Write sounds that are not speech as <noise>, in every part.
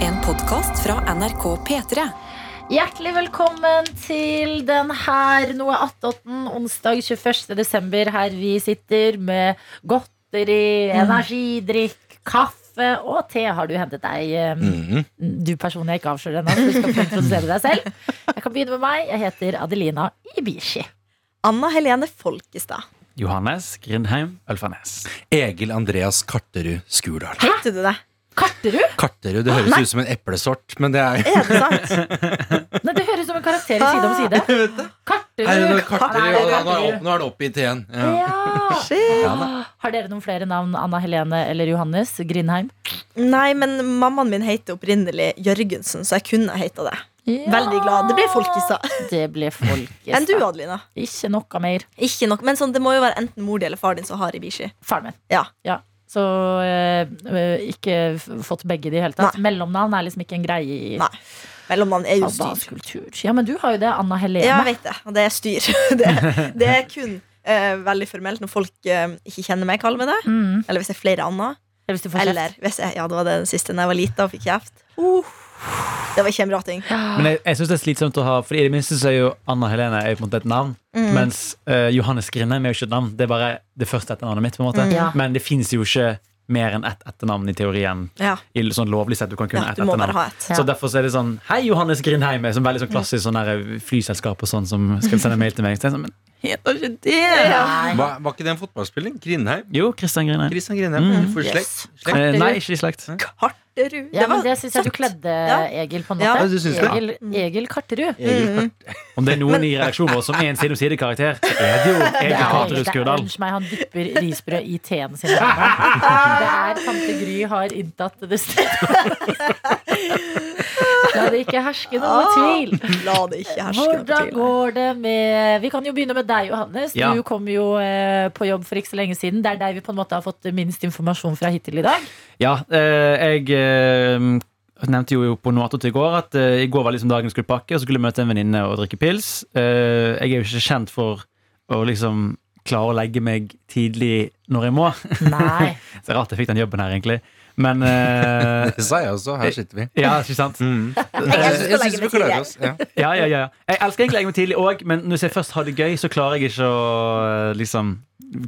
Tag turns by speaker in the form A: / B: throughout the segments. A: En podkast fra NRK P3.
B: Hjertelig velkommen til den her Noe attåtten, onsdag 21. desember, her vi sitter med godteri,
C: Mm.
B: energidrikk, kaffe og te har du hentet deg. eh,
C: Mhm.
B: Du personen jeg ikke avslører ennå, for du skal få introdusere deg selv. Jeg kan begynne med meg. Jeg heter Adelina Ibishi.
D: Anna Helene Folkestad.
E: Johannes Grindheim Ølfarnes.
C: Egil Andreas Karterud Skurdal.
D: Hette du det?
B: Karterud?
C: Karterud, det høres
D: Nei.
C: ut som en eplesort, men det er
D: Er det sant?
B: Nei, det høres ut som en karakter i Side om side.
C: Nei, det er
B: Karterud.
C: Karterud,
B: Nei, det
C: ja,
B: er
C: nå er det
B: Karterud.
C: opp- nå er det opp i T-en. Ja.
B: Ja.
D: Shit.
B: Har dere noen flere navn? Anna Helene eller Johannes Grindheim?
D: Nei, men mammaen min heter opprinnelig Jørgensen, så jeg kunne heta det. Veldig glad. Det ble Folkestad.
B: Det ble folkestad.
D: Enn du, Adelina?
B: Ikke noe mer.
D: Ikke nok, men sånn, det må jo være enten mor di eller far din som har Ibishi.
B: Faren min.
D: Ja.
B: Så eh, eh, ikke f- fått begge de i det hele tatt. Mellomnavn er liksom ikke en greie i
D: Nei. Mellomnavn er jo styr.
B: albansk kultur. Ja, men du har jo det. Anna Helene.
D: Ja, jeg vet det. Og det er styr. <laughs> Det, det er kun eh, veldig formelt når folk eh, ikke kjenner meg, kaller meg det.
B: mm.
D: Eller hvis det er flere Anna.
B: Eller hvis du får
D: Eller
B: kjeft.
D: hvis jeg, ja, det var det den siste da jeg var lita og fikk kjeft. Uh, det var ikke en bra ting.
E: Men jeg, jeg synes det er slitsomt å ha Fordi i det minste så er jo Anna Helene er jo på en måte et navn.
D: Mm.
E: Mens eh, Johannes Grindheim er jo ikke et navn. Det er bare det første etternavnet mitt. på en måte
B: Ja.
E: Men det fins jo ikke mer enn ett etternavn i teorien.
D: Ja,
E: I sånn lovlig sett, du kan kun
D: ja
E: ha ett
D: du må
E: etternavn.
D: bare ha et.
B: Ja.
E: Så derfor så er det sånn Hei, Johannes Grindheim! Er sånn veldig sånn klassisk sånn der flyselskap og sånn som skal sende mail til meg. Så jeg er sånn, men heter ikke det
B: Nei.
C: Var, var ikke det en fotballspiller? Grindheim?
E: Jo, Christian Grindheim.
C: Kristian Grindheim?
E: Mm.
C: For slekt?
B: Yes.
C: slekt?
E: Eh, nei, ikke i slekt.
D: Karterud.
B: Ja, men
D: var
B: det syns jeg du kledde
D: Ja.
B: Egil, på en måte.
D: Ja. Mm.
C: Ja, du synes det?
B: Egil, Egil Karterud.
C: Egil Karterud.
E: Om det er noen i redaksjonen vår som er en side om side-karakter, så er det jo
B: Det
E: Egil
B: er-
E: Katerud
B: det er-
E: Skurdal.
B: Unnskyld meg, han dypper risbrød i teen sin. Det er tante Gry har inntatt det
D: <laughs>
B: stedet. La det ikke herske noe tvil.
D: La det ikke herske noe
B: Hvordan
D: tvil.
B: går det med Vi kan jo begynne med deg, Johannes.
E: Ja.
B: Du kom jo eh, på jobb for ikke så lenge siden. Det er deg vi på en måte har fått minst informasjon fra hittil i dag.
E: Ja, eh, jeg eh, nevnte jo på Noatot i går at eh, i går var liksom dagen jeg skulle pakke, og så skulle jeg møte en venninne og drikke pils. Eh, jeg er jo ikke kjent for å liksom klare å legge meg tidlig når jeg må. <laughs>
B: Nei.
E: Så det er rart jeg fikk den jobben her, egentlig. Men eh,
C: Det sa jeg også. Her sitter vi.
E: Ja, ikke sant?
D: Jeg elsker å
C: Jeg
D: legge
C: syns vi
D: meg
C: klarer
D: tidlig.
C: oss. Ja.
E: Ja, ja, ja. Jeg elsker egentlig å legge meg tidlig òg, men hvis jeg først har det gøy, så klarer jeg ikke å eh, liksom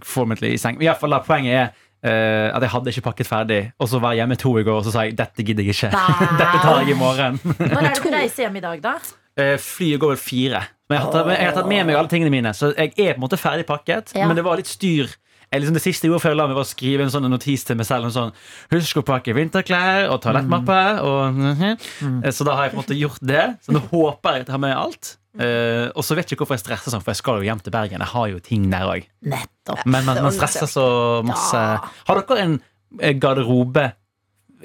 E: få meg til i seng. I hvert fall da, Poenget er eh, at jeg hadde ikke pakket ferdig, og så var jeg hjemme to i går, og så sa jeg dette gidder jeg ikke. <laughs> Dette tar jeg i morgen.
B: Når er det du reiser hjem i dag, da?
E: Eh, Flyet går vel fire. Men jeg har, tatt, men jeg har tatt med meg alle tingene mine, så jeg er på en måte ferdig pakket.
B: Ja.
E: Men det var litt styr. Jeg, liksom, det siste jeg gjorde før jeg la meg, var å skrive en sånn notis til meg selv. En sånn, Husk å pakke vinterklær og toalettmappe. Og, <laughs> Eh, Så da har jeg på en måte gjort det. Så nå håper jeg at jeg har med alt. Eh, og så vet jeg ikke hvorfor jeg stresser sånn, for jeg skal jo hjem til Bergen. Jeg har jo ting der òg.
B: Nettopp.
E: Men man,
D: det
E: man
D: ordner
E: stresser så masse. Har dere en eh, garderobe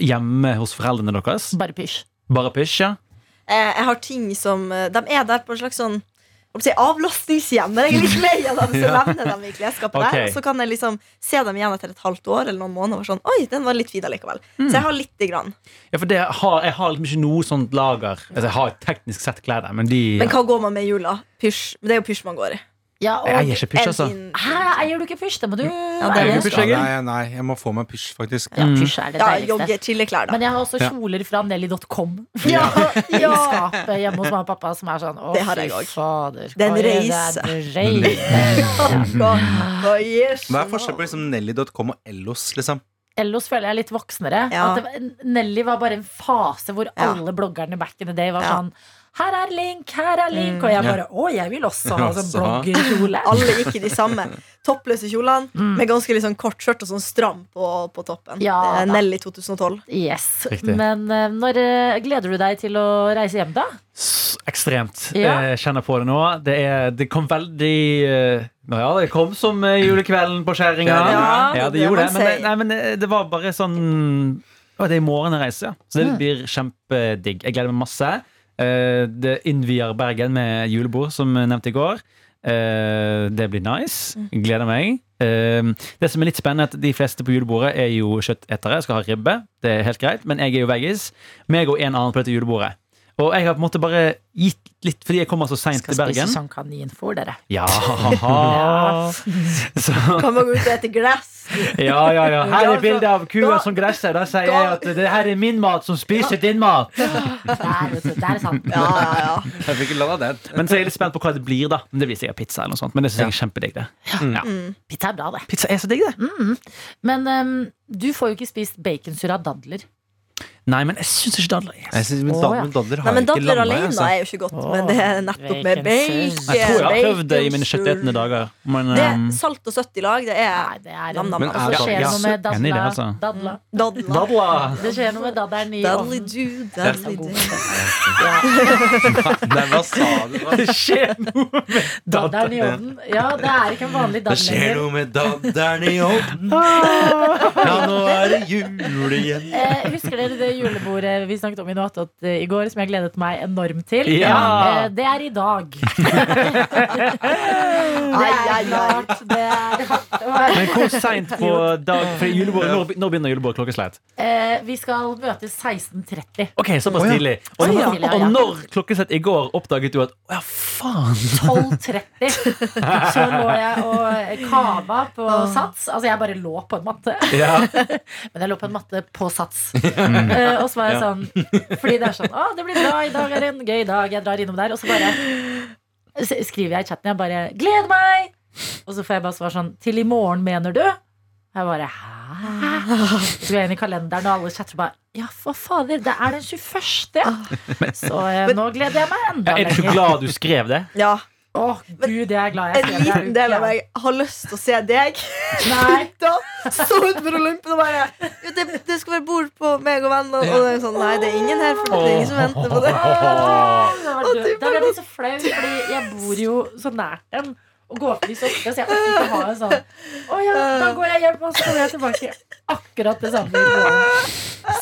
E: hjemme hos foreldrene deres?
B: Bare pysj.
E: Bare pysj, ja?
D: Eh, Jeg har ting som eh, De er der på en slags sånn hva skal jeg si, avlastningshjem. Men jeg er litt lei av dem, så
E: <laughs> Ja.
D: levner dem i klesskapet
E: Ok.
D: der. Og så kan jeg liksom se dem igjen etter et halvt år eller noen måneder. Og være sånn, Oi, den var litt fin allikevel. Så
B: Mm.
D: jeg har lite grann.
E: Ja, for det har, Jeg har liksom ikke noe sånt lager. Altså, jeg har teknisk sett klær der, men de
D: Men hva går man med i jula? Pysj. Det er jo pysj man går i.
B: Ja,
E: Jeg
B: og
E: eier ikke pysj,
D: En
E: altså.
D: fin-
B: Hæ, eier du ikke pysj? Det må du
D: det er
B: eie.
E: jo ikke pysj. Pysjegger?
C: Ja, nei, nei, jeg må få meg pysj, faktisk.
B: Ja, pysj er det
D: Ja,
B: deiligste.
D: jogge, chilleklær, da.
B: Men jeg har også
C: Ja.
B: kjoler fra Nelly.com
D: <laughs> Ja,
B: i
D: ja.
B: skapet hjemme hos mamma og pappa, som er sånn Å,
D: Det har
B: fy
D: jeg også.
B: fader.
D: Det er en
B: Kåre,
D: reise.
B: Det er en reise.
D: Hva gjør
C: Hva er forskjellen på liksom Nelly.com og Ellos, liksom?
B: Ellos føler jeg er litt voksnere. At
D: Ja.
B: det, var- Nelly var bare en fase hvor
D: Ja.
B: alle bloggerne back in the day var
D: Ja.
B: sånn Her er link, her er link. Og jeg bare Å, jeg vil også ha sånn
C: Også.
B: bloggerkjole.
D: Alle gikk i de samme toppløse kjolene
B: Mm.
D: med ganske litt sånn kort skjørt og sånn stram på, på toppen.
B: Ja,
D: Det er
B: da.
D: Nelly 2012.
B: Yes.
E: Riktig.
B: Men eh, når eh, gleder du deg til å reise hjem, da?
E: S- Ekstremt. Eh,
B: Ja.
E: Jeg kjenner på det nå. Det, er, det kom veldig eh, nå Ja, det kom som eh, julekvelden på skjæringa.
D: Ja,
E: Ja, det
D: det man
E: gjorde det. Men det,
D: sier.
E: nei, men eh, det var bare sånn Å, Det er i morgen jeg reiser, ja. Så
D: Mm.
E: det blir kjempedigg. Jeg gleder meg masse. Eh, Det innvier Bergen med julebord, som jeg nevnte i går. Eh, Det blir nice. Gleder meg. Eh, Det som er litt spennende, er at de fleste på julebordet er jo kjøttetere. Skal ha ribbe. Det er helt greit. Men jeg er jo veggis. Meg og en annen på dette julebordet. Og jeg har på en måte bare gitt litt, fordi jeg kommer så seint
B: Skal
E: til
B: spise
E: Bergen.
B: sånn kaninfôr, dere.
E: <laughs> Ja, haha. <laughs> Så,
D: Kan man gå ut og ete gress?
E: ja, ja, ja. Her er bildet av kua som gresser. Da sier jeg at det her er min mat som spiser din mat.
B: Der, vet du, der er sant.
D: Ja, ja, ja.
C: Jeg fikk la deg der.
E: Men så er jeg litt spent på hva det blir, da. Men det blir sikkert pizza eller noe sånt. Men det synes jeg er Mm. kjempedigg, det.
B: Pizza er bra, det.
E: Mm.
B: Mm-hmm.
E: Pizza er så digg, det.
B: Men ehm, du får jo ikke spist baconsurra dadler.
E: Nei, men jeg syns ikke dadler er
C: Jeg synes, men
B: Å,
C: dad-
B: ja.
C: men dadler
D: Nei,
C: har
D: men
C: ikke
D: Dadler
C: landa.
D: alene
C: Altså.
D: er jo ikke godt, men det er nettopp med
B: Bacon
D: bacon.
B: sauce.
E: Jeg tror jeg har prøvd det i mine 71. dager. Men
D: Det er
E: ehm,
D: salt og søtt i lag. Det
B: Nei,
D: er
B: det er
D: Nam,
B: en,
D: nam, altså, nam.
C: Men
B: Og så
C: er
B: skjer det noe med
E: Ja, enig i det,
B: dadla.
E: altså.
B: dadla.
D: dadler.
E: dadler!
B: Det skjer noe med dadderen i
D: Dadly
B: ovnen.
D: do, dadly do.
C: Nei, hva sa du da?
E: Det skjer noe med
B: Dadderen i ovnen. Ja, det er ikke en vanlig
C: Det
B: dadd
C: skjer
B: lenger.
C: noe med dadderen i ovnen. Ja, nå er det jul igjen.
B: Eh, husker dere det julebordet vi snakket om i noe attåt eh, i går, som jeg gledet meg enormt til?
E: Ja.
B: Eh, det er i dag. Det
D: Ai, ai,
B: er
D: ai.
B: klart. Det er hardt å være
E: Men hvor seint på dag for julebord, når, be- når begynner julebord klokkeslett?
B: Eh, vi skal møtes 16.30.
E: Ok, Såpass
C: Å, ja.
E: tidlig. Og,
B: Å, ja.
E: og, og når klokkeslett i går oppdaget du at Å ja, faen!
B: 12.30 så lå jeg og kava på Sats. Altså, jeg bare lå på en matte.
E: Ja.
B: Men jeg lå på en matte på
E: <laughs>
B: Sats.
E: Mm.
B: Eh, og så var jeg sånn Fordi det er sånn Å, det blir bra. I dag er en gøy dag. Jeg drar innom der. Og så bare s- skriver jeg i chatten. Jeg bare Gleder meg! Og så får jeg bare svar sånn Til i morgen, mener du? Og jeg bare Hæ? Så går jeg inn i kalenderen, og alle chatter bare Ja, for fader, det er den 21.
D: Ah.
B: Så eh, nå gleder jeg meg enda
E: Er du så
B: lenger.
E: glad du skrev det?
D: Ja.
B: Å, gud, jeg er glad jeg
D: En
B: skrev det.
D: liten del av meg har lyst til å se deg.
B: Nei.
D: Da så ut for Olympen og bare jo, det, det skal være bord på meg og venner. Og det er sånn, nei, det er ingen her, for det er ingen som venter på det.
B: Da ble jeg blitt så flau, fordi jeg bor jo så nært dem. Og går forbi så ofte, så jeg orker ikke å ha en sånn Å ja, da går jeg hjem, og så kommer jeg tilbake akkurat det samme. i morgen.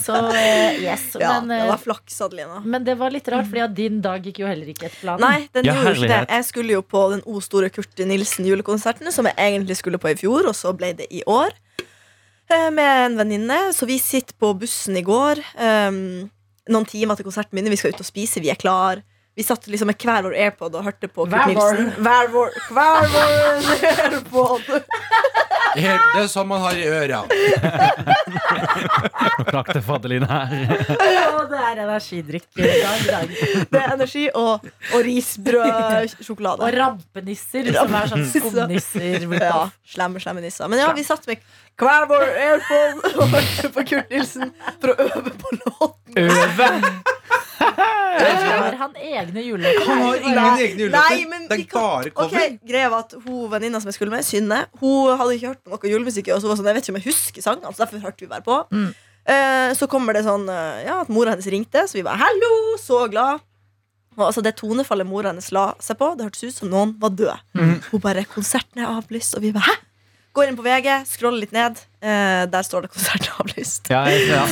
B: Så eh, yes.
D: Ja,
B: Men,
D: det
B: eh,
D: var flaks, Adelina.
B: men det var litt rart, fordi at din dag gikk jo heller ikke etter planen.
D: Nei, den gjorde
E: Ja,
D: jo ikke det.
E: herlighet.
D: Jeg skulle jo på den O store Kurt Nilsen julekonserten, som jeg egentlig skulle på i fjor, og så ble det i år. eh, Med en venninne. Så vi sitter på bussen i går. ehm, noen timer til konserten min. Vi skal ut og spise. Vi er klar. Vi satt liksom med hver vår airpod og hørte på Kurt
B: Hver vår.
D: Nilsen. Hver vår, hver vår airpod.
C: Helt- Det er sånn man har i øra.
E: Nå knakk det faderlina her.
B: Å, det er energidrikk i dag, i dag.
D: Det er energi og, og risbrød, sjokolade.
B: Og rampenisser, som er sånn skumnisser.
D: Ja, slemme, slemme nisser. Men ja, vi satt med hver vår airphone og hørte på Kurt Nilsen for å øve på låten.
E: Øve!
B: Har sånn han egne julekort?
C: Han har ingen egne
D: Nei, men
C: julelåter. Det
D: vi
C: er
D: kan-
C: bare
D: Ok,
C: cover.
D: greia var at hun venninna som jeg skulle med, Synne, hun hadde ikke hørt på noe julemusikk. Og så var hun sånn, jeg vet ikke om jeg husker sangene, så derfor hørte vi bare på.
B: Mm.
D: Eh, så kommer det sånn eh, ja, at mora hennes ringte, så vi var hallo, så glad. Og altså Det tonefallet mora hennes la seg på, det hørtes ut som noen var død.
C: Mm.
D: Hun bare 'Konserten er avlyst', og vi bare 'hæ?! Går inn på VG, scroller litt ned. eh, der står det 'Konserten er avlyst'. <laughs>
E: Ja, ja.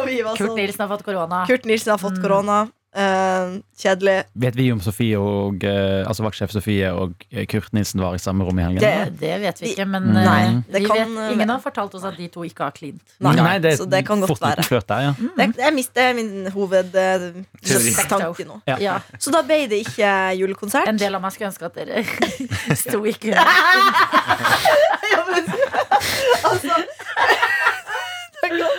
D: og vi var
B: Kurt
D: sånn
B: Nilsen har fått korona.
D: Kurt Nilsen har
C: Mm.
D: fått korona. Eh, kjedelig.
E: Vet vi om Sofie og eh, Altså vaktsjef Sofie og eh, Kurt Nilsen var i samme rom i helgen?
D: Det-
B: Det vet vi
D: Vi-
B: ikke, men
E: Nei,
B: eh,
D: det
B: vi
D: kan
B: vet, ingen
D: være.
B: har fortalt oss at de to ikke har klint.
D: Nei,
E: det,
D: så det kan godt
E: fort
D: være.
E: liten
D: Mm.
E: flørt der, ja.
D: Det, det, er mis- det er min
C: Teori.
D: hovedtanke nå.
E: Ja.
B: Ja,
D: Så da ble det ikke julekonsert.
B: En del av meg skulle ønske at dere <laughs> sto i kø.
D: altså, tenk å-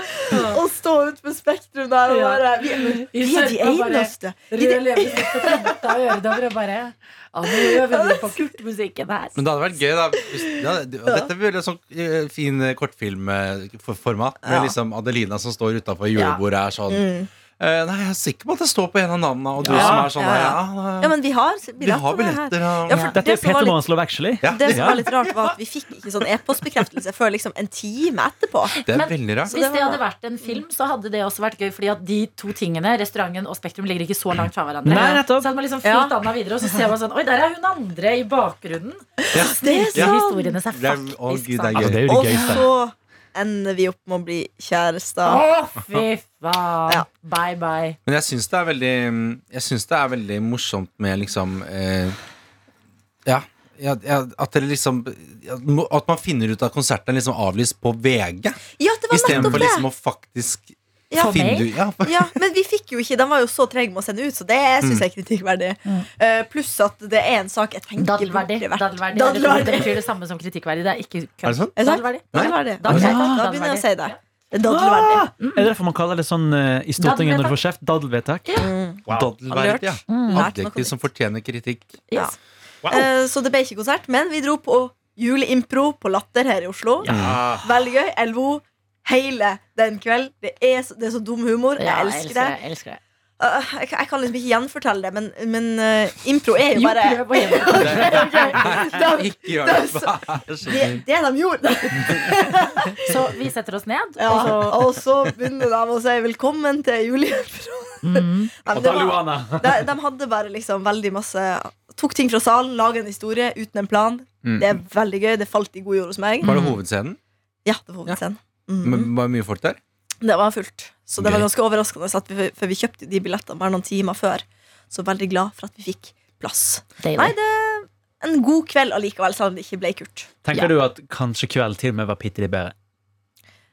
D: Å stå ut med Spektrum der og
B: Ja.
D: bare Vi, vi er de
B: Og bare-
D: eneste. Vi
B: Rød
D: er de,
B: leppestift og knytta øredobber og bare «Ja, Nå øver vi
D: <laughs>
B: på Kurt-musikken her.
C: Men det hadde vært gøy, da. hvis- Ja, det- og dette blir en sånn eh, fin eh, kortfilmformat med
D: Ja.
C: liksom Adelina som står utafor julebordet og er sånn
D: Mm.
C: eh, Nei, jeg er sikker på at det står på en av navnene, og du
E: Ja,
C: som er sånn
D: ja,
C: ja,
D: ja. ja, men vi har
C: Vi har
D: på det her.
C: billetter og
D: Ja, for
E: Dette
D: det
E: er
D: som var
E: Peter
D: litt-
E: Morens Love Actually.
C: Ja,
D: Det som
E: Ja.
D: var litt rart, var at vi fikk ikke sånn e-postbekreftelse før liksom en time etterpå.
C: det er
B: Men-
C: veldig rart.
D: Så
B: Hvis
D: det
B: det
D: var-
B: hadde vært en film, så hadde det også vært gøy. Fordi at de to tingene, restauranten og Spektrum, ligger ikke så langt fra hverandre.
E: Nei, nettopp.
B: så hadde man liksom
D: Ja.
B: fyrt Anna videre, og så ser man sånn Oi, der er hun andre i bakgrunnen.
C: Ja.
D: Det
B: De
D: er sant!
B: historiene seg
C: Det er- å,
B: faktisk
C: Gud, det er
B: sammen.
E: Altså, det er jo
D: Og
E: det gøyeste.
D: så ender vi opp med å bli kjærester.
B: Å, fy faen.
D: Ja.
B: Bye, bye.
C: Men jeg syns det er veldig Jeg synes det er veldig morsomt med liksom eh, Ja. Ja, ja, at, dere liksom, ja, må- at man finner ut at konserten er liksom avlyst på VG,
D: Ja, det var nettopp
C: istedenfor
D: det!
C: liksom å liksom Mm. faktisk
D: Ja.
B: For
C: Finner
B: meg?
C: du Ja,
D: Ja, men vi fikk jo ikke, de var jo så trege med å sende ut, så det syns jeg er kritikkverdig. Eh, pluss at det er en sak jeg tenker
B: Daddelverdig.
D: burde vært-
B: Daddelverdig.
D: Daddelverdig.
B: Det betyr det samme som kritikkverdig. Det er ikke
C: Er det
B: kødd.
C: sant?
D: Er det sant?
B: Daddelverdig.
C: Nei.
D: Daddelverdig.
B: Daddelverdig.
C: Ja.
D: Da begynner jeg å si det. Det er daddelverdig.
E: Ah! Er det derfor man kaller det sånn eh, i Stortinget når du får kjeft? Daddelvedtak?
C: Daddelverk, ja.
B: Mm.
D: Lært noe
C: Adjektiv som fortjener kritikk.
D: Ja.
E: Wow.
D: Eh, Så det ble ikke konsert, men vi dro på juleimpro på Latter her i Oslo.
E: Ja.
C: Mm.
D: Veldig gøy. Jeg lo hele den kvelden. Det er så, det er så dum humor.
B: Ja,
D: jeg elsker det.
B: Jeg elsker det.
D: Eh, jeg, jeg kan liksom ikke gjenfortelle det, men, men eh, impro er jo
B: Jo,
D: bare <laughs>
B: prøv å gjøre det.
D: det,
C: Ikke gjør
D: det er
C: det! Vær så
D: det,
C: snill.
D: det de gjorde.
B: Så vi setter oss ned,
D: Ja,
B: og så
D: og så begynner de å si 'velkommen til juleimpro'.
B: <laughs> mm.
D: Nei, men
E: Og
D: det
E: da
D: var-
E: lo Anna.
D: de, de hadde bare liksom veldig masse Tok ting fra salen, laga en historie uten en plan.
C: Mm.
D: Det er veldig gøy. Det falt i god jord hos meg.
C: Var det hovedscenen?
D: Ja, det var hovedscenen. Mm.
C: Men Var det mye folk der?
D: Det var fullt. Så det var
C: Gøy.
D: ganske overraskende, at vi, for vi kjøpte jo de billettene bare noen timer før. Så veldig glad for at vi fikk plass. Nei,
B: Deilig.
D: det en god kveld allikevel, selv om det ikke ble kult.
E: Tenker du at kanskje kvelden til og med var bitte litt bedre?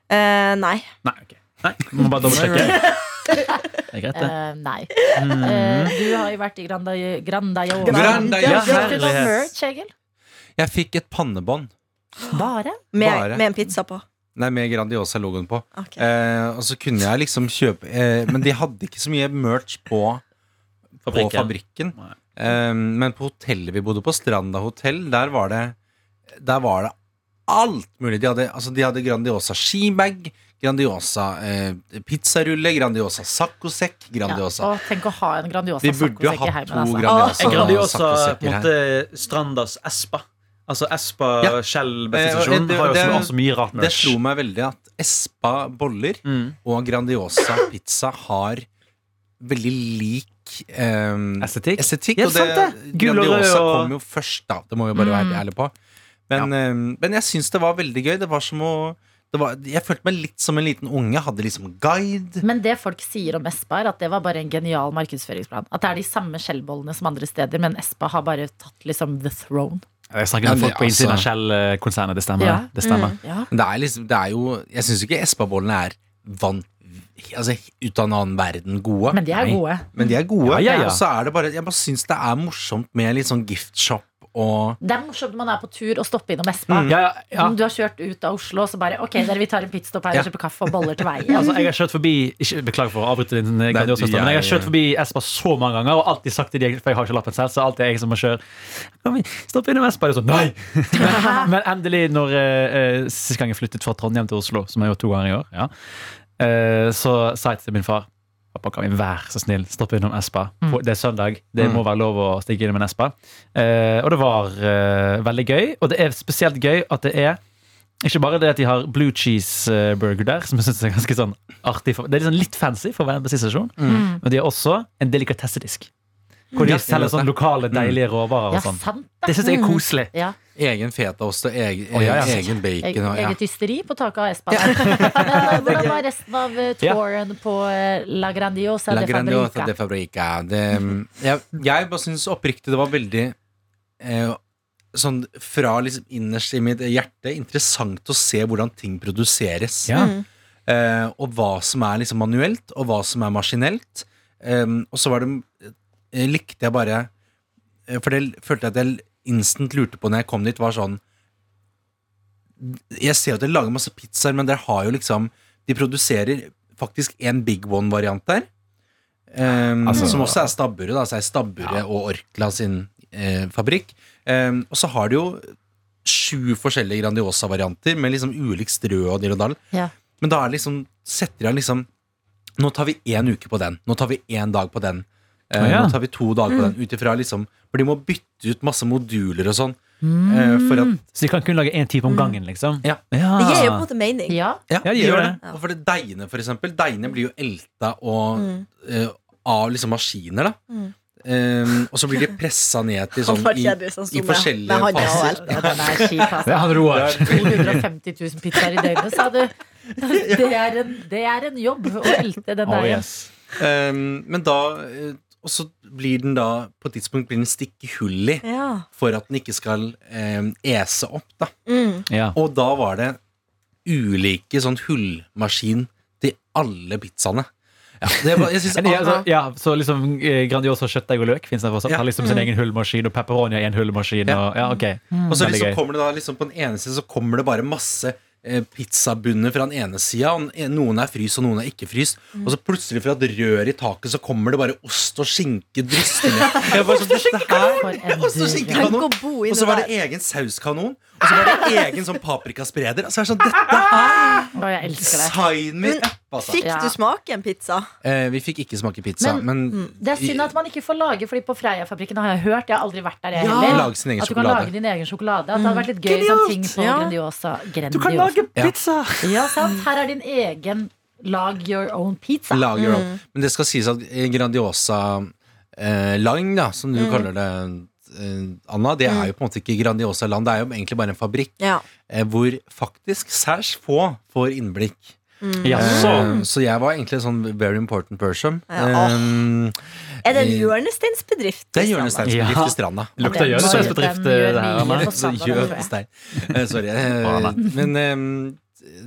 D: Eh, nei.
E: Nei, ok. Nei, må bare dobbeltsjekke. <laughs> Det er greit, det.
B: Eh, nei.
E: Mm.
B: Eh, du har jo vært i Granda Grandaiola.
C: Granda-
B: Ja,
C: Ja,
B: Kjøpte du noe
E: herlighet.
B: merch, Egil?
C: Jeg fikk et pannebånd.
B: Bare?
D: Med,
C: Bare.
D: med en pizza på.
C: Nei, med Grandiosa-logoen på.
D: Ok.
C: Eh, og så kunne jeg liksom kjøpe eh, Men de hadde ikke så mye merch på fabrikken. På fabrikken.
E: Nei.
C: Eh, men på hotellet vi bodde på, Stranda hotell, der var det Der var det alt mulig. De hadde, altså, de hadde Grandiosa skibag, Grandiosa eh, pizzarulle, Grandiosa saccosekk, Grandiosa
B: Ja. Og tenk å ha en Grandiosa
C: Vi burde jo
B: saccosekk i
C: hatt
B: heimen,
C: to
B: altså.
E: Jeg
C: Grandiosa
E: gradde jo også på en
C: saccosekker her.
E: måte Strandas Espa. Altså Espa
C: Ja.
E: Shell
C: Eh, og
E: bensinstasjon
C: det-
E: har jo
C: det-
E: også, også mye rart
C: Det
E: merch.
C: slo meg veldig at Espa boller
E: Mm.
C: og Grandiosa pizza har veldig lik eh,
E: Estetikk.
C: estetikk.
E: Ja,
C: og det,
E: sant det. Gul og rød
C: Grandiosa
E: og- Mm.
C: kom jo først, da. Det må vi jo bare være ærlig på. Men, eh, men jeg syns det var veldig gøy. Det var som å det var, Jeg følte meg litt som en liten unge. Jeg Hadde liksom guide.
B: Men det folk sier om Espa, er at det var bare en genial markedsføringsplan. At det er de samme skjellbollene som andre steder, men Espa har bare tatt liksom the throne.
E: Jeg snakker
C: Ja,
E: med
C: det,
E: folk på innsiden av
C: altså.
E: Shell-konsernet. Det stemmer.
B: Ja.
E: det. Det stemmer.
B: Ja.
C: Men det er liksom Det er jo Jeg syns ikke Espa-bollene er vann... Altså ut av en annen verden gode.
B: Men de er
E: Nei.
B: gode.
C: Men de er gode.
E: Ja, ja, ja.
C: Og så er det bare Jeg bare syns det er morsomt med litt sånn giftshop og
B: Det er morsomt når man er på tur og stopper innom Espa.
C: Mm.
E: Ja, ja, ja.
B: Om Du har kjørt ut av Oslo, og så bare Ok, dere, vi tar en pitstop her
C: Ja.
B: og kjøper kaffe og boller til veien.
E: Altså, jeg har kjørt forbi ikke, Beklager for å avbryte din eh, grandiose
C: du,
E: stemme, men jeg har
C: jeg-
E: kjørt forbi Espa så mange ganger og alltid sagt til de, for jeg har ikke lappen selv, så alltid er jeg som må kjøre. Kan vi stoppe innom Espa? Det er sånn, nei! men, men endelig, når eh, eh, sist gang jeg flyttet fra Trondheim til Oslo, som jeg har gjort to ganger i år, ja, eh, så sa jeg til min far Pappa, kan vi være så snill stoppe innom Espa? På, det er søndag. Det må være lov å stikke innom en Espa. Eh, og det var eh, veldig gøy. Og det er spesielt gøy at det er ikke bare det at de har blue cheese eh, burger der, som jeg synes er ganske sånn artig. For, det er liksom litt fancy for å være en bensinstasjon. Men de har også en delikatessedisk. Hvor de
C: Ja,
E: selger sånn lokale, deilige råvarer
B: Ja,
E: og sånn.
B: sant Mm.
E: Det syns jeg er koselig.
B: Ja.
C: egen fetaost og egen,
E: Å, ja, ja.
C: egen
B: Eget,
C: bacon. Og, ja.
B: eget hysteri på taket av Espa. Men <laughs> eh, hvordan var resten av eh,
E: Ja.
B: touren på eh, La Grandiosa
C: La
B: de
C: Grandiosa
B: Fabrica?
C: de Fabrica. Det, jeg, jeg bare syns oppriktig det var veldig eh, Sånn fra liksom innerst i mitt hjerte interessant å se hvordan ting produseres.
E: Ja.
C: Eh, og hva som er liksom manuelt, og hva som er maskinelt. Eh, og så var det eh, Likte jeg bare eh, For det følte jeg at jeg instant lurte på når jeg kom dit, var sånn Jeg ser jo at dere lager masse pizzaer, men dere har jo liksom De produserer faktisk en Big One-variant der. eh,
E: Altså-
C: som også er stabburet, da. Så er stabburet og Orkla sin eh, fabrikk. Eh, og så har de jo sju forskjellige Grandiosa-varianter med liksom ulik strø og dill og dall.
B: Ja.
C: Men da er det liksom, setter jeg liksom Nå tar vi én uke på den. Nå tar vi én dag på den. eh,
E: Å, ja.
C: Nå tar vi to dager på den. Ut ifra liksom For de må bytte ut masse moduler og sånn. eh,
E: Mm.
C: for at
E: Så de kan kun lage én type om gangen, liksom.
C: Ja.
D: Det gir jo på en måte mening.
B: Ja.
C: Ja,
E: Ja, de gjør det.
C: Og for det deigene, for eksempel. Deigene blir jo elta og eh, av liksom maskiner, da. Eh, og så blir de pressa ned til sånn i, i forskjellige faser.
B: Ja, den er kjip, altså.
E: Det er han Roar.
B: 250 000 pizzaer i døgnet, sa du. Det er en, det er en jobb å elte den
E: Oh,
B: der.
E: yes.
C: Eh, men da eh, Og så blir den da På et tidspunkt blir den stikk hull i.
D: Ja.
C: for at den ikke skal eh, ese opp. Da.
D: Mm.
E: ja.
C: Og da var det ulike sånn hullmaskin til alle pizzaene. Ja, det var, jeg synes,
E: <laughs> Ja, altså, ja, så liksom eh, Grandiosa kjøttdeig og løk fins der fortsatt.
C: Ja.
E: Har liksom sin egen hullmaskin, og pepperoni har en hullmaskin.
C: Ja.
E: Og, ja, ok.
C: Og så
E: Veldig
C: liksom
E: gøy.
C: kommer det da liksom På den ene siden så kommer det bare masse eh, pizzabunner fra den ene sida. og den- e-, Noen er fryst, og noen er ikke fryst. Og så plutselig fra et rør i taket så kommer det bare ost og skinke dryssende. Jeg bare sånn, dette her-
B: For en
C: <laughs> Ost og
B: dyr-
D: Tenk å
C: skinkekanon.
D: bo
C: Og
D: inni
C: så var
D: der.
C: det egen sauskanon. Og så var det egen sånn paprikaspreder. Altså, jeg er sånn, dette her
B: Å, jeg elsker det.
C: Sign me
D: Men
C: up, altså.
D: Fikk
B: Ja.
D: du smake en pizza?
C: Eh, vi fikk ikke smake pizza,
B: Men- mm.
C: men,
B: Det er synd at man ikke får lage, Fordi på Freia-fabrikken har jeg hørt. Jeg har aldri vært der, jeg
C: Ja.
B: heller.
C: Lage sin egen
B: At du kan
C: sjokolade. Mm.
B: lage din egen sjokolade. At det hadde vært litt gøy sånn ting på
D: Ja.
B: Grandiosa.
E: Du kan
B: Grandiosa.
E: lage
C: Ja.
E: pizza!
B: Ja, sant? Her er din egen Lag your own pizza.
C: Lager opp. Men det skal sies at Grandiosa eh, Lang, da, som du kaller det, eh, Anna, det er jo på en måte ikke Grandiosa Land. Det er jo egentlig bare en fabrikk
D: Ja.
C: eh, hvor faktisk særs få får innblikk.
E: Jaså.
C: Eh, så jeg var egentlig en sånn very important person.
D: Ja,
C: Eh,
D: Er det en
C: Eh,
D: hjørnesteinsbedrift? i
C: det er
D: Stranda?
C: hjørnesteinsbedrift
E: Ja.
C: i Stranda.
E: Lukter
B: Den
E: gjøresveisbedrift
B: gjør
E: der.
B: mye
E: Anna.
B: for
C: Så
B: standarden, tror jeg.
C: Hjørnestein. altså, Eh, Sorry. eh,
E: Bra, da.
C: Men eh,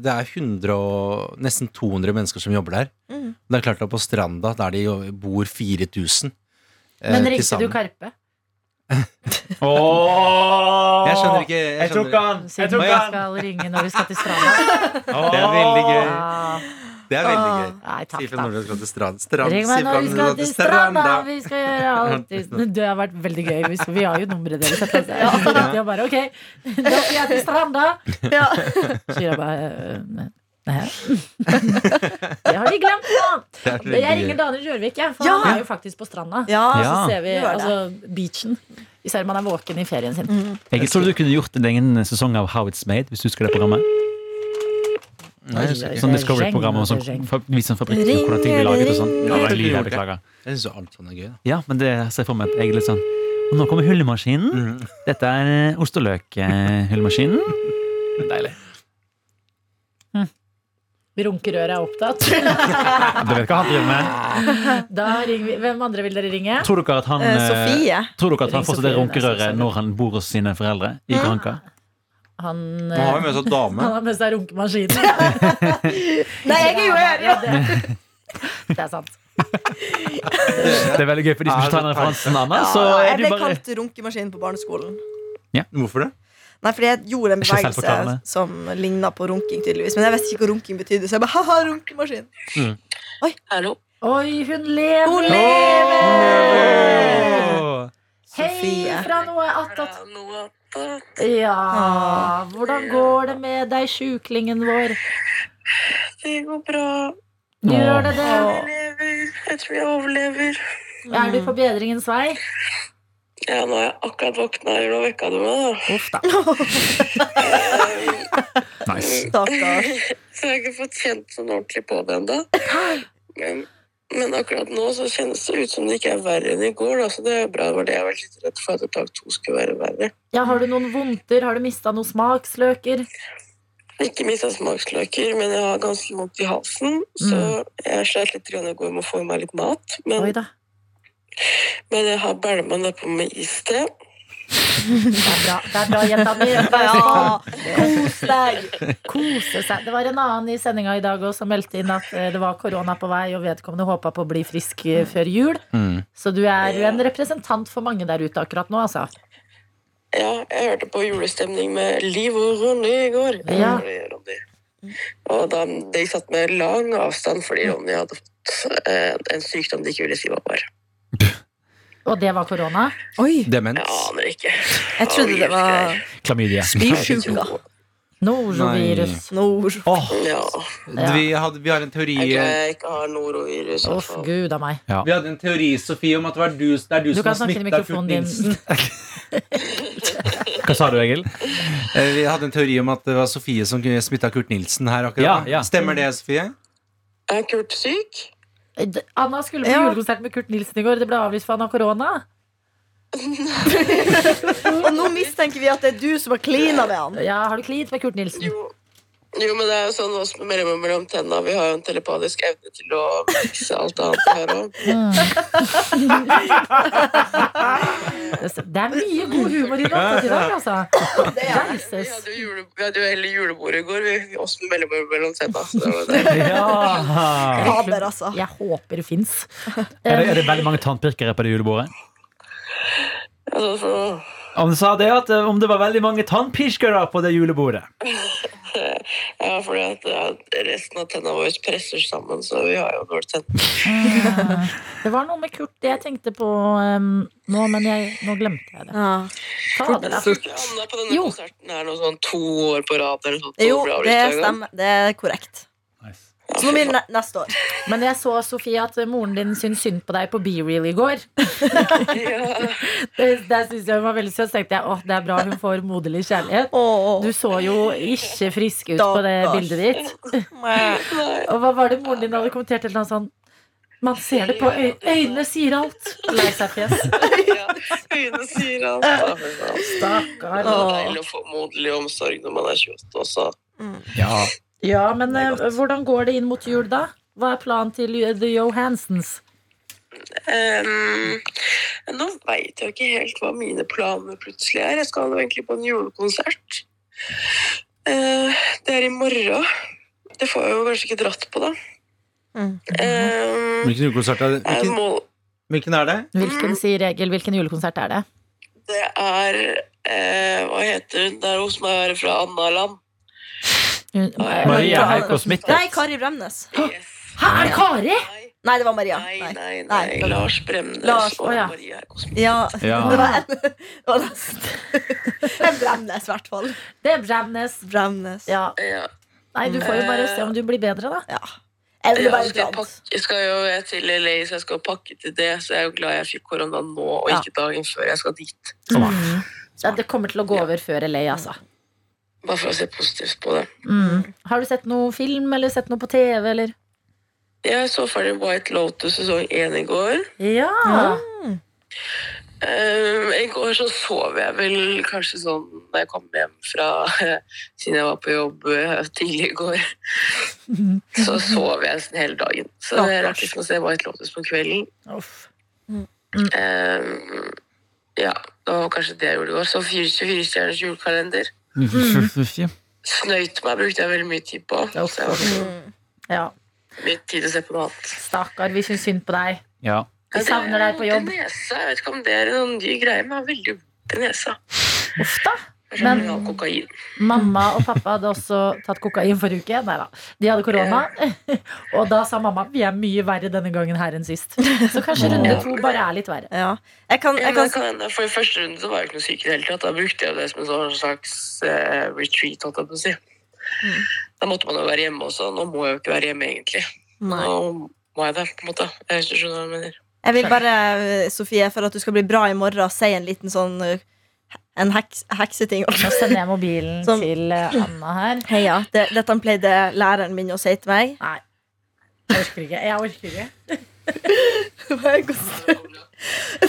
C: det er 100 og nesten 200 mennesker som jobber der.
D: Mm.
C: Det er klart at på Stranda, der de jo bor 4000 eh,
B: Men
C: til
B: ringte du
C: sammen.
B: Karpe?
E: Åh!
C: Jeg skjønner ikke jeg
E: Jeg tok han!
C: skjønner.
E: Jeg
B: Siden du
E: tok han!
B: skal ringe når du skal til
E: <laughs>
B: stranda.
C: Det er veldig gøy.
B: Ah,
C: Det er veldig gøy.
B: Nei, takk,
C: Si fra
B: da.
C: når du skal til strand. strand.
B: Ring
C: si
B: meg
C: fra
B: når vi skal
C: du
B: til stranda! <laughs> Vi skal gjøre alt. vi- Det har vært veldig gøy. hvis- Vi har jo nummeret deres. etter oss. Jeg har rett i å bare OK, da skal jeg til stranda.
D: Ja.
B: Så <laughs> sier jeg bare «Øh, Hæ? <laughs> Det har de glemt nå!
C: Det er veldig
B: Jeg
C: gøy.
B: ringer Daniel Rørvik, jeg. For
D: Ja.
B: han er jo faktisk på stranda.
D: Ja,
E: Ja.
B: Så ser vi
D: Gjør det. Mm.
B: altså, beachen. Især om man er våken i ferien sin.
E: Jeg tror du kunne gjort en egen sesong av How It's Made. Hvis du husker det programmet
C: Nei, jeg husker ikke.
E: Sånn Discovery-program og sånn. Vis en fabrikk og hvordan ting blir laget og sånn. Ja, det er livet, jeg beklager.
C: Jeg syns alt sånn er gøy. Da.
E: Ja, men det ser jeg for meg at jeg er litt sånn Og nå kommer hullemaskinen. Dette er eh, ost og eh, løk-hullemaskinen. Deilig.
B: Runkerøret er opptatt. <laughs>
E: Du vet hva han driver med?
B: Da ringer vi. Hvem andre vil dere ringe?
E: Tror dere at han,
D: Eh,
E: eh,
D: Sofie.
E: tror
B: Ring
E: dere at han fortsatt
B: Sofie,
E: er
B: det er
E: runkerøret
B: så
E: når han bor hos sine foreldre? I Granca?
B: Han,
C: Nå har vi
B: eh,
C: med oss en dame.
B: han har med seg runkemaskinen.
D: Nei, jeg er jo her!
B: Ja, det, <laughs> det er sant.
E: Det er veldig gøy, for de som ikke tar den referansen, Anna, så
D: jeg
E: er du
D: ble
E: bare
D: kalt runkemaskin på barneskolen.
C: Hvorfor det?
D: Nei, fordi jeg gjorde en
E: Ikke
D: bevegelse
E: selvforklarende.
D: som ligna på runking, tydeligvis. Men jeg visste ikke hva runking betydde, så jeg bare ha-ha, runkemaskin.
F: Hallo?
B: Oi, hun lever!
D: Hun lever!
E: Åh.
B: Hei
D: Sofie.
B: fra noe attåt. Ja, hvordan går det med deg, sjuklingen vår?
F: Det går bra.
B: Gjør det det?
F: Jeg lever. Jeg tror jeg overlever.
B: Er du på bedringens vei?
F: Ja, nå har jeg akkurat våkna. Eller nå vekka du meg, da.
B: Uff da.
E: Nice.
D: Stakkars.
F: Så <laughs> jeg har ikke fått kjent sånn ordentlig på det ennå. Men, men akkurat nå så kjennes det ut som det ikke er verre enn i går. Da. Så det er bra. Det var det jeg var litt redd for, at dag to skulle være verre.
B: Ja, har du noen vondter? Har du mista noen smaksløker?
F: Ikke mista smaksløker, men jeg har ganske vondt i halsen. Så jeg slet litt grann i går med å få i meg litt mat. Men
B: Mm. Oi da.
F: Men jeg har bælma nedpå med is til.
B: Det er bra, det er bra jenta <laughs> mi.
D: Ja, kos deg.
B: Kose seg. Det var en annen i sendinga i dag også som meldte inn at eh, det var korona på vei, og vedkommende håpa på å bli frisk eh, før jul.
C: Mm.
B: Så du er en representant for mange der ute akkurat nå, altså.
F: Ja, jeg hørte på julestemning med Liv og Ronny i går. Jeg
B: Ja.
F: hører det, Ronny. Og da, de satt med lang avstand fordi Ronny hadde fått eh, en sykdom de ikke ville si hva var.
B: Og det var korona.
D: Oi,
F: Jeg
C: Demens.
F: aner ikke.
D: jeg trodde det var
E: Klamydia.
D: spysjuka.
B: Norovirus.
D: Nord.
E: Åh,
F: Ja.
C: Vi, hadde, vi har en teori
F: Jeg tror jeg ikke har norovirus. i hvert
B: Uff,
F: fall.
B: eh, gud a meg.
C: Vi hadde en teori, Sofie, om at det, var du, det er du,
B: Du
C: som
B: kan
C: har
B: snakke inn i
C: smitta Kurt
B: mikrofonen din.
C: Nilsen.
E: hva sa du, Egil? <laughs>
C: Eh, Vi hadde en teori om at det var Sofie som smitta Kurt Nilsen her
E: Ja,
C: akkurat.
E: ja.
C: Stemmer det, Sofie?
F: Er Kurt syk?
B: D- Anna skulle på
D: Ja.
B: julekonsert med Kurt Nilsen i går. Det ble avlyst for han har korona.
D: Og nå mistenker vi at det er du som har klina med han.
B: Ja, har du klint med Kurt Nilsen?
F: Jo. Jo, men det er jo sånn oss med mellom, mellom tenna. Vi har jo en telepatisk evne til å
B: <laughs>
F: fikse alt annet her òg.
B: Mm. Det er mye god humor i Råttet i dag, altså.
F: Vi
B: Jesus.
F: hadde jo jule, vi hadde jo hele julebordet i går, vi. Oss med mellomrom mellom seta. Så det var det.
B: <laughs>
E: Ja.
D: Fader, altså.
B: Jeg håper det fins.
E: Er, det, er det veldig mange tannpirkere på det julebordet?
F: Altså, så,
E: Han sa det at eh, om det var veldig mange tannpirkere på det julebordet.
F: ja, fordi at ja, resten av tenna våre presser sammen, så vi har jo dårlige tenner.
B: <laughs> Det var noe med Kurt jeg tenkte på um, nå, men jeg, nå glemte jeg det.
D: Ja.
B: Fader,
F: Men
B: da.
F: Fikk Anna på denne
B: Jo.
F: konserten her noe sånn to år på rad eller noe sånt?
D: Jo,
F: så bra
D: det
F: blitt en gang.
D: stemmer. Det er korrekt. Så nå blir det ne- neste år.
B: Men jeg så, Sofie, at moren din syntes synd på deg på BeReal i går. <laughs>
F: <laughs> Ja.
B: Det, det synes jeg var veldig søtt. Så tenkte jeg åh, det er bra hun får moderlig kjærlighet. Du så jo ikke frisk ut på det
D: Stakkars.
B: bildet ditt.
F: Nei.
D: <laughs>
B: Og hva var det moren din hadde kommentert? Et eller annet sånn Man ser det på øy øynene, sier alt. Lei seg-fjes.
F: Ja, Øynene sier alt. da, men da.
B: Stakkar.
F: Det er deilig å få moderlig omsorg når man er 28 også.
E: Ja.
B: Ja, men eh, hvordan går det inn mot jul, da? Hva er planen til eh, The Johansens?
F: Ehm, nå veit jeg ikke helt hva mine planer plutselig er. Jeg skal jo egentlig på en julekonsert. Eh, det er i morgen. Det får jeg jo kanskje ikke dratt på, da.
D: Mm.
F: Ehm,
C: Hvilken julekonsert er det?
F: jeg
C: Hvilken,
F: må-
C: hvilken er det?
B: Hvilken, sier Egil, hvilken julekonsert er det?
F: det er eh, Hva heter hun der hos meg er fra Annaland?
B: Hun-
E: Maria Haukaas Smith.
D: Nei, Kari Bremnes.
F: Yes.
B: Hæ, er det Kari?
F: Nei,
D: Nei, det var Maria.
F: nei,
D: Nei.
F: nei.
D: Nei.
F: nei. Lars Bremnes
D: Lars,
F: og
B: å ja.
F: Maria Kosmo.
D: Ja,
E: Ja.
D: det var <laughs> en, det var nesten. <laughs> en Bremnes, i hvert fall.
B: Det er Bramnes.
D: Bremnes.
B: Ja.
F: Ja.
B: Nei, du får jo bare se om du blir bedre, da.
D: Ja. Jeg ville
F: Ja, altså,
D: bare
F: skal jeg,
D: dratt.
F: pakke, jeg skal jo jeg er til LA, så jeg skal pakke til det. Så jeg er jo glad jeg fikk korona nå, og
B: Ja.
F: ikke dagen før jeg skal dit.
B: Ja, det kommer til å gå over før LA, altså.
F: Bare for å se positivt på det.
B: Mm. Har du sett noe film, eller sett noe på TV, eller?
F: Jeg så ferdig White Lotus sesong én i går.
B: Ja!
F: Ehm, I går så sov jeg vel kanskje sånn da jeg kom hjem fra <laughs> Siden jeg var på jobb eh, tidlig i går, så sov jeg nesten hele dagen. Så jeg rakk liksom å se White Lotus på kvelden.
B: Uff.
F: Ehm, ja, det var kanskje det jeg gjorde i går. Så 24 stjerners julekalender.
B: Mm-hmm.
F: Snøyt meg brukte jeg veldig mye tid på. Så jeg har ikke
B: Ja,
F: mye tid til å se på noe annet.
B: stakkar, vi syns synd på deg.
E: Ja.
B: Vi savner deg på jobb.
F: Det er Nesa, jeg vet ikke om det er noen ny greie, men jeg har veldig vondt i nesa.
B: Uff da.
F: Kanskje
B: Men-
F: jeg har kokain.
B: Mamma og pappa hadde også tatt kokain forrige uke. Nei da, de hadde korona. Og da sa mamma vi er mye verre denne gangen her enn sist. Så kanskje runde to bare er litt verre.
D: Ja. Jeg kan, jeg
F: Ja, men
D: kan
F: det kan hende, for I første runde så var jeg ikke noe syk i det hele tatt. Da brukte jeg jo det som en sånn slags eh, retreat. Holdt jeg på å si.
B: Mm.
F: Da måtte man jo være hjemme også. Nå må jeg jo ikke være hjemme, egentlig.
D: Nei.
F: Nå må jeg det, på en måte. Jeg synes du skjønner hva jeg mener.
D: Jeg vil bare, eh, Sofie, for at du skal bli bra i morgen, si en liten sånn uh, En heks, hekseting. <laughs>
B: Nå sender jeg mobilen
D: Sånn.
B: til eh, Anna her.
D: Heia. Det, dette pleide læreren min å si til meg. <laughs>
B: Nei, jeg orker ikke. Jeg orker ikke.
D: Hva er konstant?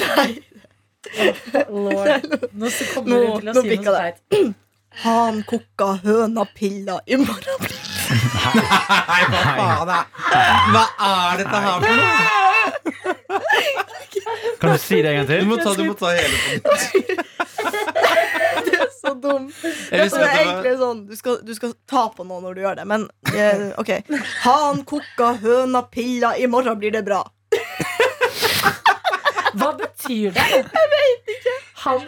D: Nei.
B: Lord. Nå så kommer
D: Nå-
B: hun til å
D: nå
B: si noe
D: pikka
B: så
D: det.
B: teit.
D: Han kokka hønapiller i morgen.
C: Nei, hva faen er Hva er dette her for noe?
E: Kan du si det en gang
C: Du
E: til?
C: må ta, du må ta hele på nytt.
D: Det er så dum.
C: <laughs> Jeg
D: Det
C: visste
D: er
C: at det var-
D: egentlig sånn, du skal, du skal ta på noe når du gjør det, men eh, OK. Han kokka hønapiller i morgen, blir det bra.
B: Hva betyr det? Jeg vet ikke. Han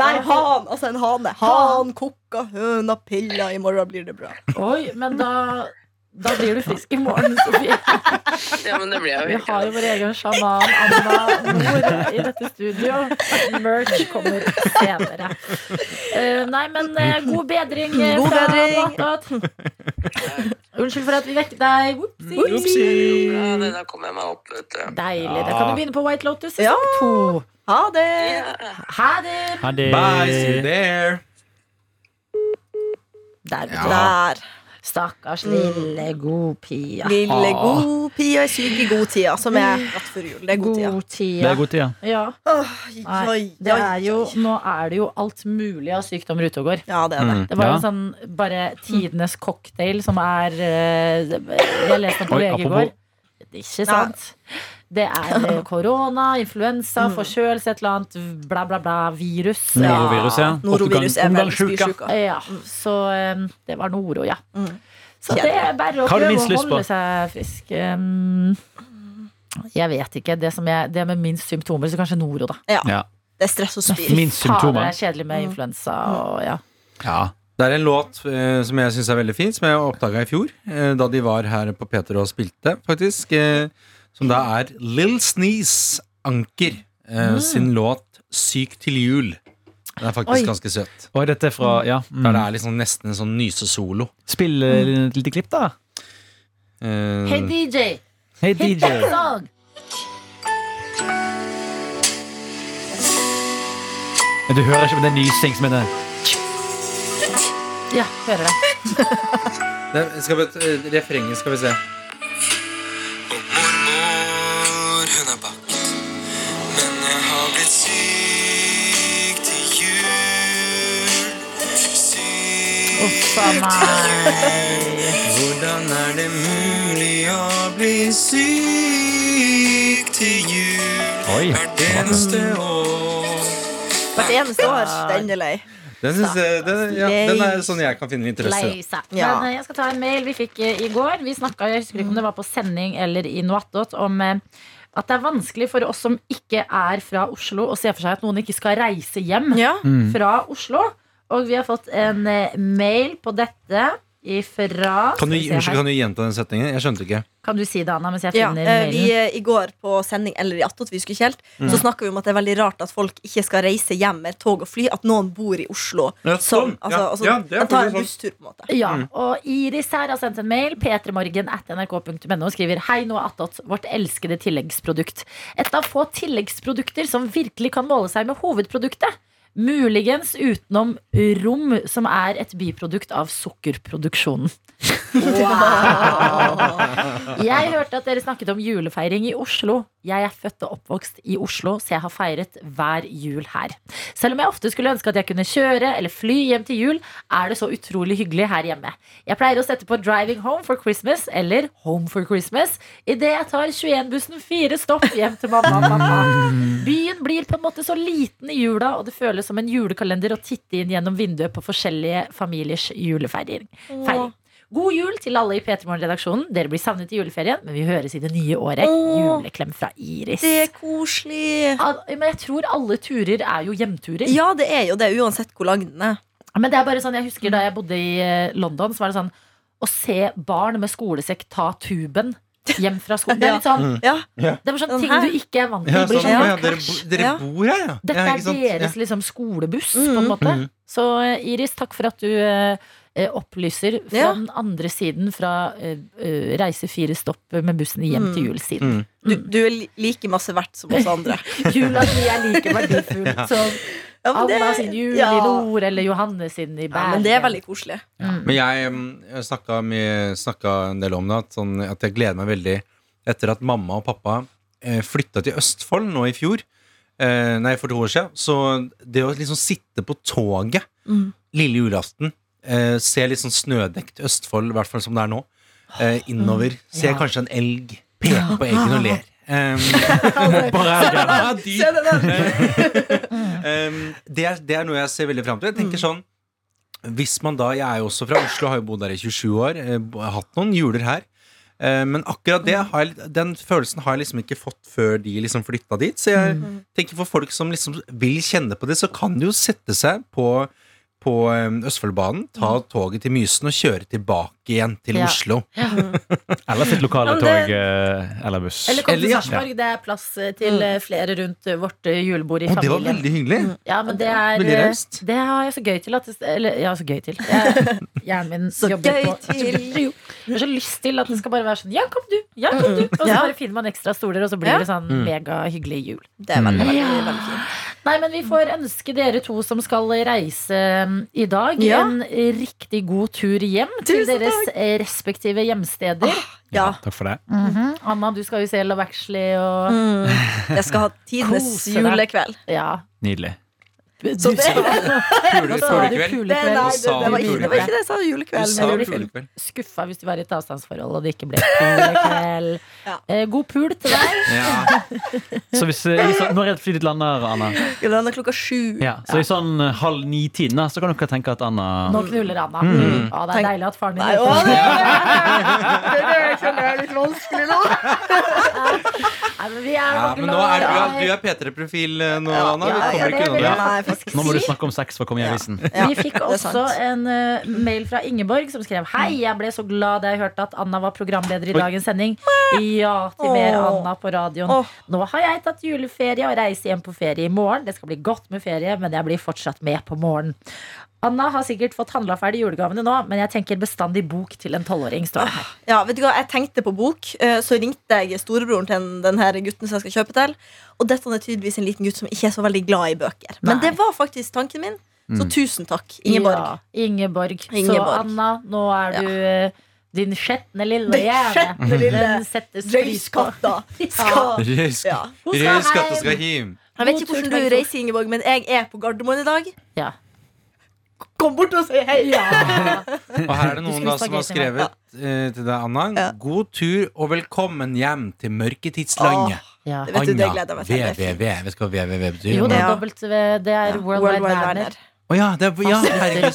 D: Nei, han. Altså en hane. Han kokka hønapiller i morgen, blir det bra.
B: Oi, men da da blir du frisk i morgen, Sofie.
F: Ja, men det blir jeg
B: Vi
F: jo
B: har jo
F: helt
B: vår egen sjaman Anna Nord i dette studio. Merch kommer senere. Eh, nei, men eh, god bedring eh,
D: God
B: fra
D: bedring.
B: Notat. Unnskyld for at vi vekket deg. Whoopsie.
F: Ja, det der kom jeg meg opp, vet du.
B: Deilig. Da kan du begynne på White Lotus sesong
D: Ja.
B: to.
D: Ha det!
F: Ja.
B: Ha det!
E: Ha det.
C: Bye, see you there.
B: Der, vet du.
D: Der.
B: Stakkars lille god pia.
D: Mm. Lille god pia er syk i god tida, som er rett før jul. Det er Mm.
B: God
D: god tida.
E: Det
B: tida.
E: er god tid, ja.
B: Ja.
D: Oi,
B: Nei,
D: oi,
B: det
D: oi,
B: er jo,
D: oi.
B: nå er det jo alt mulig av sykdommer ute og går.
D: Ja, det
C: Mm.
D: er det.
B: Det var jo
E: Ja.
B: en sånn bare tidenes cocktail som er eh, Jeg leste den på
E: Oi,
B: VG i
E: apropos-
B: går. Ikke sant? Det er eh, korona, influensa,
D: Mm.
B: forkjølelse, et eller annet bla, bla, bla, virus.
E: Norovirus, ja.
D: Norovirus er
E: Omgangssjuka.
D: verdensbysjuka.
B: Ja, så eh, det var Noro, ja.
D: Mm.
B: Så det er bare å
E: Hva har du
B: prøve å
E: minst lyst på?
B: holde seg frisk. Um, jeg vet ikke. Det, som jeg, det med minst symptomer, så kanskje Noro, da.
D: Det er stress og spyr.
E: Minst symptomer.
B: det er kjedelig med
D: Mm.
B: influensa og ja.
C: Ja. Det er en låt eh, som jeg syns er veldig fin, som jeg oppdaga i fjor, eh, da de var her på Peter og spilte, faktisk. Eh, som da er Lill Sneeze Anker eh, sin låt 'Syk til jul'. Den er faktisk
B: Oi.
C: ganske søt.
E: Og dette er fra Ja.
C: Der det
E: Mm.
C: er liksom nesten en sånn nysesolo.
E: Spill eh, et lite klipp, da.
C: Eh,
B: Hey DJ,
E: Hei,
B: hit that
E: DJ.
B: song!
E: Men Du hører ikke på den nysing som heter
B: Ja, hører det.
C: det- skal vi, eh, refrenget skal vi se.
G: Og mormor, hun er bakt. Men jeg har blitt syk til jul. Syk
B: Uff a meg.
C: Hvordan er det
G: mulig å bli syk til jul.
E: Oi.
G: Hvert eneste år.
D: Hvert eneste år. Den er lei.
C: Den, synes, jeg- den, ja, den er sånn jeg kan finne litt trøst i.
B: Lei seg.
D: Ja.
B: Men eh, jeg skal ta en mail vi fikk eh, i går. Vi snakka, jeg husker ikke om det var på sending eller i Noattot, om eh, at det er vanskelig for oss som ikke er fra Oslo, å se for seg at noen ikke skal reise hjem.
D: Ja.
E: Mm.
B: fra Oslo. Og vi har fått en eh, mail på dette ifra
C: Kan du,
B: Skal vi se her.
C: unnskyld, kan du gjenta den setningen? Jeg skjønte ikke.
B: Kan du si det, Anna, mens jeg
D: Ja,
B: finner
D: eh,
B: mailen?
D: vi, eh, I går på sending eller i Attot, vi husker ikke helt, så
C: Mm.
D: snakka vi om at det er veldig rart at folk ikke skal reise hjem med tog og fly. At noen bor i Oslo.
C: Ja,
D: Som,
C: sånn.
D: altså,
C: Ja,
D: altså,
C: ja, det er
D: de tar en
C: faktisk sånn.
D: busstur, på en måte.
B: Ja, og Iris her har sendt en mail p3morgen at nrk.no og skriver Hei, nå attåt vårt elskede tilleggsprodukt. Et av få tilleggsprodukter som virkelig kan måle seg med hovedproduktet. Muligens utenom rom, som er et biprodukt av sukkerproduksjonen. Jeg hørte at dere snakket om julefeiring i Oslo. Jeg er født og oppvokst i Oslo, så jeg har feiret hver jul her. Selv om jeg ofte skulle ønske at jeg kunne kjøre eller fly hjem til jul, er det så utrolig hyggelig her hjemme. Jeg pleier å sette på 'Driving Home for Christmas' eller 'Home for Christmas' idet jeg tar 21-bussen fire stopp hjem til mamma og pappa. Byen blir på en måte så liten i jula, og det føles som en julekalender å titte inn gjennom vinduet på forskjellige familiers julefeiring. Feiring. God jul til alle i P3 Morgen-redaksjonen. Dere blir savnet i juleferien, men vi høres i det nye året.
D: Åh.
B: Juleklem fra Iris.
D: Det er koselig.
B: Al- Men jeg tror alle turer er jo hjemturer.
D: Ja, det er jo det, uansett hvor lang den er.
B: Men det er bare sånn, jeg husker da jeg bodde i eh, London, så var det sånn å se barn med skolesekk ta tuben hjem fra skolen. Det er litt sånn,
D: Ja,
B: det var sånn
D: Den
B: ting
D: her.
B: du ikke er vant til.
C: Mm. Ja,
B: blir
C: sånn,
B: sånn,
C: ja, dere, bo- dere
D: Ja.
C: bor her, ja?
B: Dette
C: ja,
B: er
C: ikke sant? Ja.
B: deres liksom, skolebuss, på
D: Mm.
B: en måte.
C: Mhm.
B: Så eh, Iris, takk for at du eh, eh, opplyser fra
D: Ja.
B: den andre siden, fra eh, eh, reise fire stopp med bussen hjem
D: Mm.
B: til jul-siden.
C: Mm.
D: du, du er li- like masse verdt som oss andre.
B: <laughs> Jula mi er like <laughs> verdifull som
D: Ja, men
B: Anna sin
D: det,
B: jul
D: ja.
B: i nord, eller Johanne sin i
D: ja,
B: Bergen.
D: men det er veldig koselig.
B: Mm.
C: Men jeg, mm, jeg snakka, mye, snakka en del om det, at, sånn, at jeg gleder meg veldig etter at mamma og pappa eh, flytta til Østfold nå i fjor. Eh, nei, for to år siden. Så det å liksom sitte på toget
D: Mm.
C: lille julaften, eh, se litt sånn snødekt Østfold, i hvert fall som det er nå, eh, innover,
B: Mm.
C: ser
B: Ja.
C: kanskje en elg, peker på eggen
B: <laughs>
C: og ler. <laughs> Um, Ja, dyp.
D: Se det der!
C: <laughs>
B: Mm.
C: Um, det, er, det er noe jeg ser veldig fram til. Jeg tenker sånn Hvis man da, Jeg er jo også fra Oslo, har jo bodd der i 27 år. eh, bo- har hatt noen juler her. Eh, men akkurat det
B: Mm.
C: har jeg, litt- den følelsen har jeg liksom ikke fått før de liksom flytta dit. Så jeg
B: Mm.
C: tenker for folk som liksom vil kjenne på det, så kan de jo sette seg på på eh, Østfoldbanen, ta toget til Mysen og kjøre tilbake igjen til
B: Mm. Ja.
C: Oslo.
E: Eller sitt lokale
D: Ja, men det-
E: tog eh, eller buss.
B: Eller kom til
C: Eller, ja.
B: Sarpsborg. Det er plass eh, til eh, flere rundt eh, vårt eh, julebord i
C: Og det var
B: familien. Mm.
C: veldig
B: <laughs>
C: hyggelig.
B: Ja, men det er
C: Veldig raust.
B: eh, Det har jeg så gøy til at det, Eller, ja, så gøy til. Jeg, <laughs> hjernen min
D: Så
B: jobber
D: gøy
B: på
D: til.
B: Jo. Jeg har så lyst til at det skal bare være sånn Ja, kom du! Ja, kom du! Og så
D: Ja.
B: bare finner man ekstra stoler, og så blir
D: Ja.
B: det sånn megahyggelig jul.
D: Det er veldig, veldig,
B: Ja.
D: veldig fint.
B: Nei, men vi får ønske dere to som skal reise um, i dag,
D: Ja.
B: en riktig god tur hjem til
D: Tusen
B: deres eh, respektive hjemsteder.
D: Ja.
E: Takk for det.
B: Mhm. Mm. Anna, du skal jo se Love Actually og
D: Mm. Jeg skal ha tidenes
B: Kose deg.
D: julekveld.
B: Ja.
E: Nydelig.
D: Så det-
C: Pule- Pulekveld.
D: Det, nei, det, det,
C: sa
D: var, ikke, det var
C: julekveld.
D: ikke det jeg sa.
C: Du
D: Julekveld.
C: sa
D: Med julekveld.
C: pulekveld.
B: Skuffa hvis du var i et avstandsforhold og det ikke ble pulekveld.
D: <laughs> Ja.
B: Eh, god pul til deg.
C: Ja.
E: Så hvis, eh, i sånn- nå er det fly ditt lander, Anna.
D: Det lander klokka sju.
E: Ja, så i sånn eh, halv ni-tiden da, så kan dere tenke at Anna
B: Nå knuller Anna.
C: Mm.
B: Å, det er
D: Tenk-
B: deilig at faren din
D: Nei, å,
B: heter <laughs>
D: det,
B: det.
D: det kjenner jeg er litt vanskelig nå.
B: Nei, men vi er
C: Ja,
B: så
C: men nå er du,
B: glad.
C: du er P3-profil eh, nå,
D: Ja,
C: Anna.
D: ja,
C: Du
D: ja,
C: kommer
B: det
C: ikke
B: vil
C: unna det.
D: Nei, faktisk.
E: Nå må du snakke om sex for å komme i avisen.
D: Ja,
B: Vi fikk
D: det er
B: også
D: sant.
B: en eh, mail fra Ingeborg som skrev Hei, jeg ble så glad da jeg hørte at Anna var programleder i
C: Oi.
B: dagens sending. Ja til mer
D: Åh.
B: Anna på radioen.
D: Åh.
B: Nå har jeg tatt juleferie og reiser hjem på ferie i morgen. Det skal bli godt med ferie, men jeg blir fortsatt med på morgenen. Anna har sikkert fått handla ferdig julegavene nå, men jeg tenker bestandig bok til en tolvåring. står det her.
D: Ja, vet du hva, Jeg tenkte på bok, eh, så ringte jeg storebroren til den- den her gutten som jeg skal kjøpe til. Og dette er tydeligvis en liten gutt som ikke er så veldig glad i bøker. Men
B: Nei.
D: det var faktisk tanken min, så
E: Mm.
D: tusen takk, Ingeborg.
B: Ja, Ingeborg. Så
D: Ingeborg.
B: Anna, nå er du eh, din skjetne lille
D: Den
B: hjerne.
D: skjetne lille
B: Den settes pris på.
D: Røyskatta skal
C: Røys
D: ja.
B: Hun skal
C: røys katte
B: hjem.
C: skal hjem.
D: Jeg vet ikke
B: God tur
D: hvordan
B: til
D: du
B: Ingeborg.
D: reiser, Ingeborg, men jeg er på Gardermoen i dag.
B: Ja.
D: Kom bort og si hei!
B: Ja.
C: Og her er det
B: Du
C: noen
B: skulle
C: da som har
B: spagetti
D: med.
C: skrevet eh, til deg, Anna.
D: Ja.
C: God tur og velkommen hjem til mørketidslandet.
B: Ja.
D: Vet du, det
C: Anna,
D: gleder jeg meg til. Det er
C: VVV. Vet du hva VVV betyr?
B: Jo, det er
D: Ja.
B: W, det er World Wide Werner.
C: Å ja, det er, ja, herregud,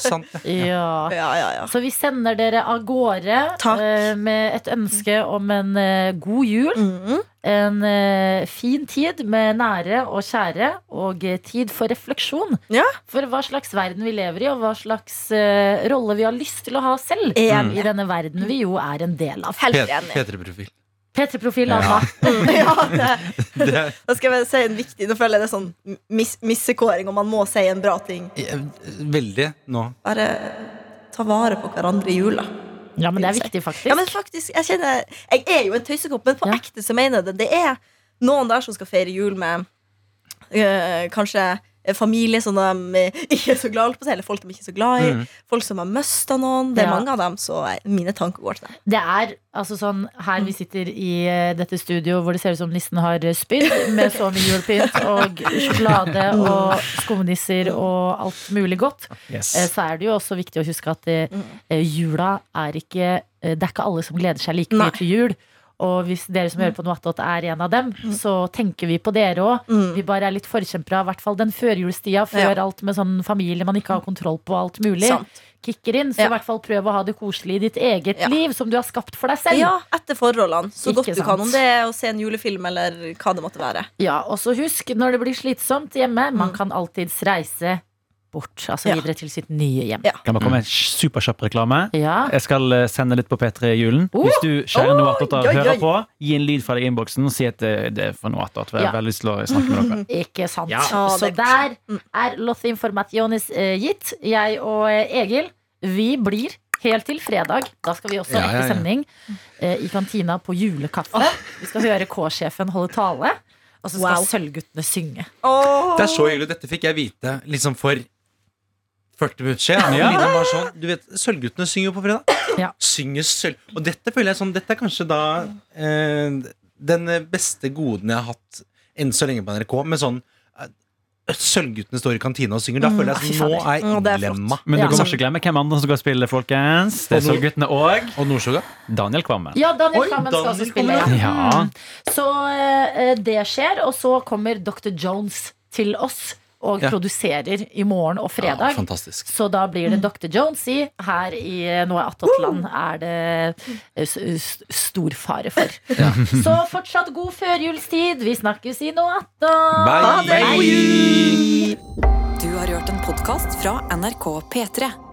D: <laughs>
C: sant det.
B: Ja.
D: Ja, ja, ja.
B: Så vi sender dere av gårde
D: Takk.
B: eh, med et ønske om en eh, god jul.
D: Mhm.
B: En eh, fin tid med nære og kjære, og eh, tid for refleksjon.
D: Ja.
B: For hva slags verden vi lever i, og hva slags eh, rolle vi har lyst til å ha selv
D: Enig.
B: i denne verden vi jo er en del av.
D: Helt enig.
C: P3-profil.
B: P3-profil,
C: Ja.
B: Anna.
D: Mm. <laughs> Ja, det,
C: <laughs> Det er
D: da skal jeg si en viktig Nå føler jeg det er sånn mis, missekåring, og man må si en bra ting.
C: eh, veldig nå.
D: Bare ta vare på hverandre i jula.
B: Ja, men det er viktig, faktisk.
D: Ja, men faktisk, jeg kjenner Jeg er jo en tøysekopp, men på
B: Ja.
D: ekte så mener jeg det. Det er noen der som skal feire jul med øh, kanskje familie som de ikke er så glad på, eller folk de ikke er så glad i.
C: Mm.
D: Folk som har mista noen. Det er
B: Ja.
D: mange av dem, så jeg- mine tanker går til dem.
B: Det er altså sånn Her
D: Mm.
B: vi sitter i eh, dette studio hvor det ser ut som nissen har eh, spydd med så mye julepynt og sjokolade
D: Mm.
B: og skumnisser og alt mulig godt, eh, så er det jo også viktig å huske at eh,
D: Mm.
B: eh, jula er ikke eh, Det er ikke alle som gleder seg like
D: Nei. Mm.
B: mye til jul. Og hvis dere som hører på Noatot er en av dem, så tenker vi på dere òg.
D: Mm.
B: Vi bare er litt forkjempere av i hvert fall den førjulstida før
D: Ja. Mm.
B: alt med sånn familie man ikke har kontroll på og alt mulig
D: Sant.
B: kicker inn. Så
D: Ja.
B: i hvert fall prøv å ha det koselig i ditt eget
D: Ja.
B: liv, som du har skapt for deg selv.
D: Ja, etter forholdene. Så
B: Ikke
D: godt du
B: sant.
D: kan. Om det er å se en julefilm eller hva det måtte være.
B: Ja, og så husk, når det blir slitsomt hjemme, man kan alltids reise bort. Altså
D: Mm. Ja.
B: videre til sitt nye hjem.
D: Ja.
E: Kan bare komme med en superkjapp reklame.
B: Ja.
E: Jeg skal eh, sende litt på P3 i julen.
B: Oh!
E: Hvis du kjære
D: Oh,
E: Noatot
D: oi, oi.
E: hører på, gi en lyd fra deg i innboksen og si at eh, det er fra Noatot. Jeg
B: Ja.
E: har veldig lyst til å snakke med dere.
B: Ikke sant.
E: Ja.
D: Ja,
B: Så
D: det-
B: der
D: Mm.
B: er Lotte Informationes eh, gitt. Jeg og eh, Egil, vi blir helt til fredag. Da skal vi også
C: Ja, ja,
B: rekke
C: ja.
B: sending eh, i kantina på julekaffe. Vi skal høre K-sjefen holde tale, og så skal
D: Wow.
B: Sølvguttene synge.
D: Åh.
C: Det er så hyggelig. Dette fikk jeg vite liksom for 40 minutter siden. Ja. Lina var sånn, du vet, Sølvguttene synger jo på fredag.
B: Ja.
C: Synger sølv. Og dette føler jeg sånn, dette er kanskje da eh, den beste goden jeg har hatt enn så lenge på NRK, med sånn eh, Sølvguttene står i kantina og synger. Da føler jeg sånn, nå er jeg
D: Mm, Å, det er flott.
C: innlemma.
E: Men
B: Ja.
E: dere må ikke glemme hvem andre som skal spille, folkens. Det er Sølvguttene og
C: Og Nordstoga?
E: Daniel Kvamme.
B: Ja, Daniel
C: Oi,
B: Kvammen skal
C: Daniel
B: også spille.
C: Kvammen.
E: Ja.
B: Mm. Så eh, det skjer, og så kommer Dr. Jones til oss og
C: Ja.
B: produserer i morgen og
C: Ja,
B: fredag.
C: fantastisk.
B: så da blir det Dr. Jones i. Her i eh, Noe Attåtland er det eh, s- s- stor fare for. Så fortsatt god førjulstid. Vi snakkes i Noe attåt.
C: Bye!
A: Du har hørt en podkast fra NRK P3.